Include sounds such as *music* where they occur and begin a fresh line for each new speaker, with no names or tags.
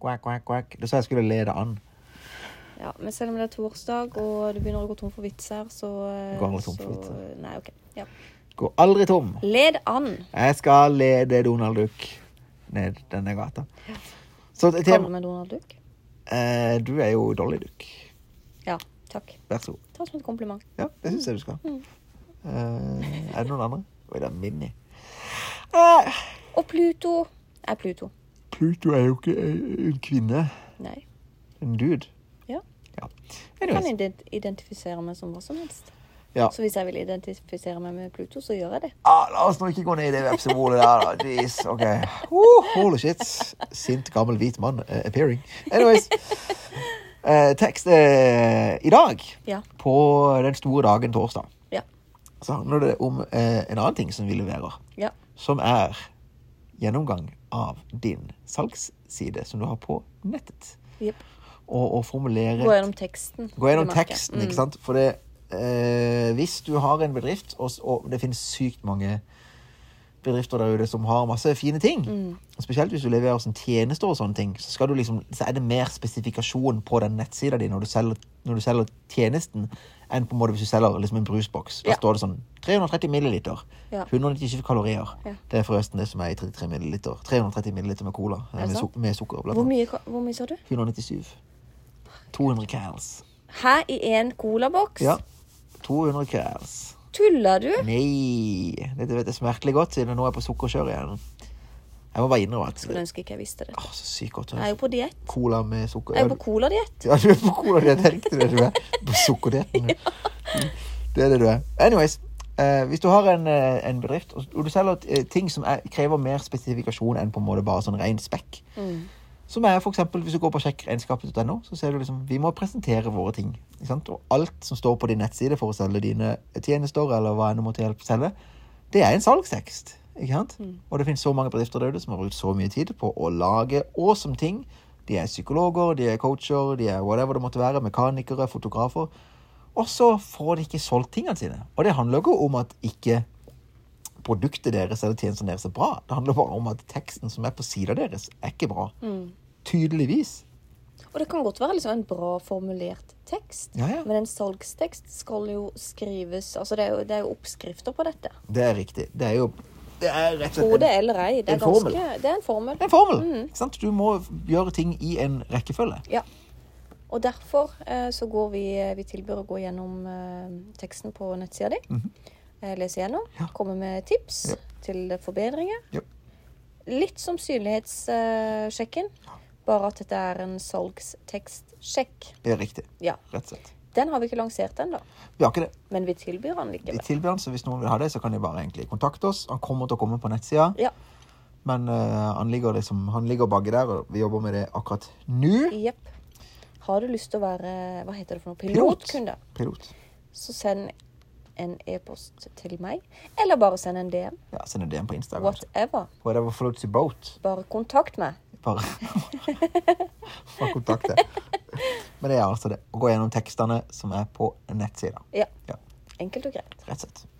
Quack, quack, quack. Du sa jeg skulle lede an.
Ja, men selv om det er torsdag, og du begynner å gå tom for vitser, så eh,
Går jeg tom for
så-
vitser?
Nei, OK. Ja.
Går aldri tom.
Led an.
Jeg skal lede Donald Duck ned denne gata. Så et
Kaller du
tema
meg Donald Duck?
eh, Du er jo Dolly Duck.
Ja. Takk.
Vær så god.
Ta det som et kompliment.
Ja, det syns jeg du skal.
Mm.
Eh, er det noen andre? Oi, det er Minni. Eh,
Og Pluto er Pluto.
Pluto er jo ikke eh, en kvinne.
Nei.
En dude.
Ja.
Ja.
Jeg kan
Anyways.
ident identifisere meg som hva som helst.
Ja.
Så hvis jeg vil identifisere meg med Pluto, så gjør jeg det.
Ah, la oss nå ikke gå ned i det vepsebolet der, da. Jeez, ok. Oh, holy shit. Sint, gammel, hvit mann eh, appearing. Anyways. Eh, tekst eh, i dag,
Ja.
på den store dagen torsdag,
Ja.
så handler det om eh, en annen ting som vi leverer,
Ja.
som er gjennomgang av din salgsside som du har på nettet.
Jep.
Og, og formulere
Gå gjennom teksten.
Gå gjennom
vil jeg merke.
teksten, ikke sant? For det, eh, hvis du har en bedrift, og, s- og det finnes sykt mange bedrifter der ute som har masse fine ting,
Mm.
spesielt hvis du leverer som tjenester og sånne ting, så, skal du liksom, så er det mer spesifikasjon på den nettsida di når du, selger, når du selger tjenesten, enn på en måte hvis du selger liksom en brusboks. Da
Ja.
står det sånn 330 milliliter,
Ja.
197 kalorier.
Ja.
Det er forresten det som er i 33 milliliter. 330 milliliter med cola, eh,
det
med,
sant?
su med sukker.
Mm.
Blant
Hvor,
annet.
mye, ka- hvor mye sa du?
197. 200 cals.
Her i en colaboks?
Ja. 200 krs.
Tuller du?
Nei! Dette vet jeg smertelig godt, siden jeg nå er på sukkerkjør igjen. Jeg må bare innrømme at
Skulle ønske ikke jeg visste det.
Åh, Så sykt godt.
Jeg er jo på diett.
Cola med sukker.
Jeg
Ja,
er
du,
på coladiett.
ja, du er på cola, jeg tenkte det. Du er på
*laughs*
sukkerdietten. Det er det du er. Anyways. eh, hvis du har en, eh, en bedrift og og du selger eh, ting som er, krever mer spesifikasjon enn på en måte bare sånn ren spekk Som er for eksempel, Hvis du går på sjekkregnskapet.no, så ser du liksom vi må presentere våre ting. Ikke sant? Og alt som står på din nettside for å selge dine tjenester, eller hva enn du måtte hjelpe å selge, det er en salgstekst. Ikke sant? Og det finnes så mange bedrifter der ute som har brukt så mye tid på å lage awesome ting. De er psykologer, de er coacher, de er whatever det måtte være. Mekanikere, fotografer. Og så får de ikke solgt tingene sine. Og det handler ikke om at ikke produktet deres eller tjenesten deres er bra. Det handler bare om at teksten som er på sida deres, er ikke bra.
Mm.
Tydeligvis.
Og det kan godt være liksom en bra formulert tekst,
Ja, ja.
men en salgstekst skal jo skrives Altså, det er jo, det er jo oppskrifter på dette.
Det er riktig. Det er jo det er rett og slett
Hode
en,
eller ei. Det Mm.
en
er,
formel.
ganske, det er en formel.
en formel. Ikke sant? Du må gjøre ting i en rekkefølge.
Ja. Og derfor eh, så går vi Vi tilbyr å gå gjennom eh, teksten på nettsida di. eh, Lese gjennom.
Mhm. Ja.
Komme med tips
Ja.
til forbedringer.
Ja.
Litt som synlighetssjekken, bare at dette er en salgstekstsjekk.
Det er riktig.
Ja.
Rett og slett.
Den har vi ikke lansert ennå,
Vi har ikke det.
men vi tilbyr den
Vi
likevel.
tilbyr den, så hvis noen vil ha det, så kan de bare egentlig kontakte oss. Han kommer til å komme på nettsida,
Ja.
men eh, han ligger liksom, han ligger baki der, og vi jobber med det akkurat nå.
Jepp. Har du lyst til å være hva heter det for noe,
Pilot.
pilotkunde,
Pilot.
så send en e-post til meg. Eller bare send en DM.
Ja, send en DM på Instagram.
Whatever.
Whatever floats your boat.
Bare kontakt meg.
Bare *laughs* Få kontakt, det. Men det er altså det. Å gå gjennom tekstene som er på nettsida.
Ja.
Ja.
Enkelt og greit.
Rett og slett.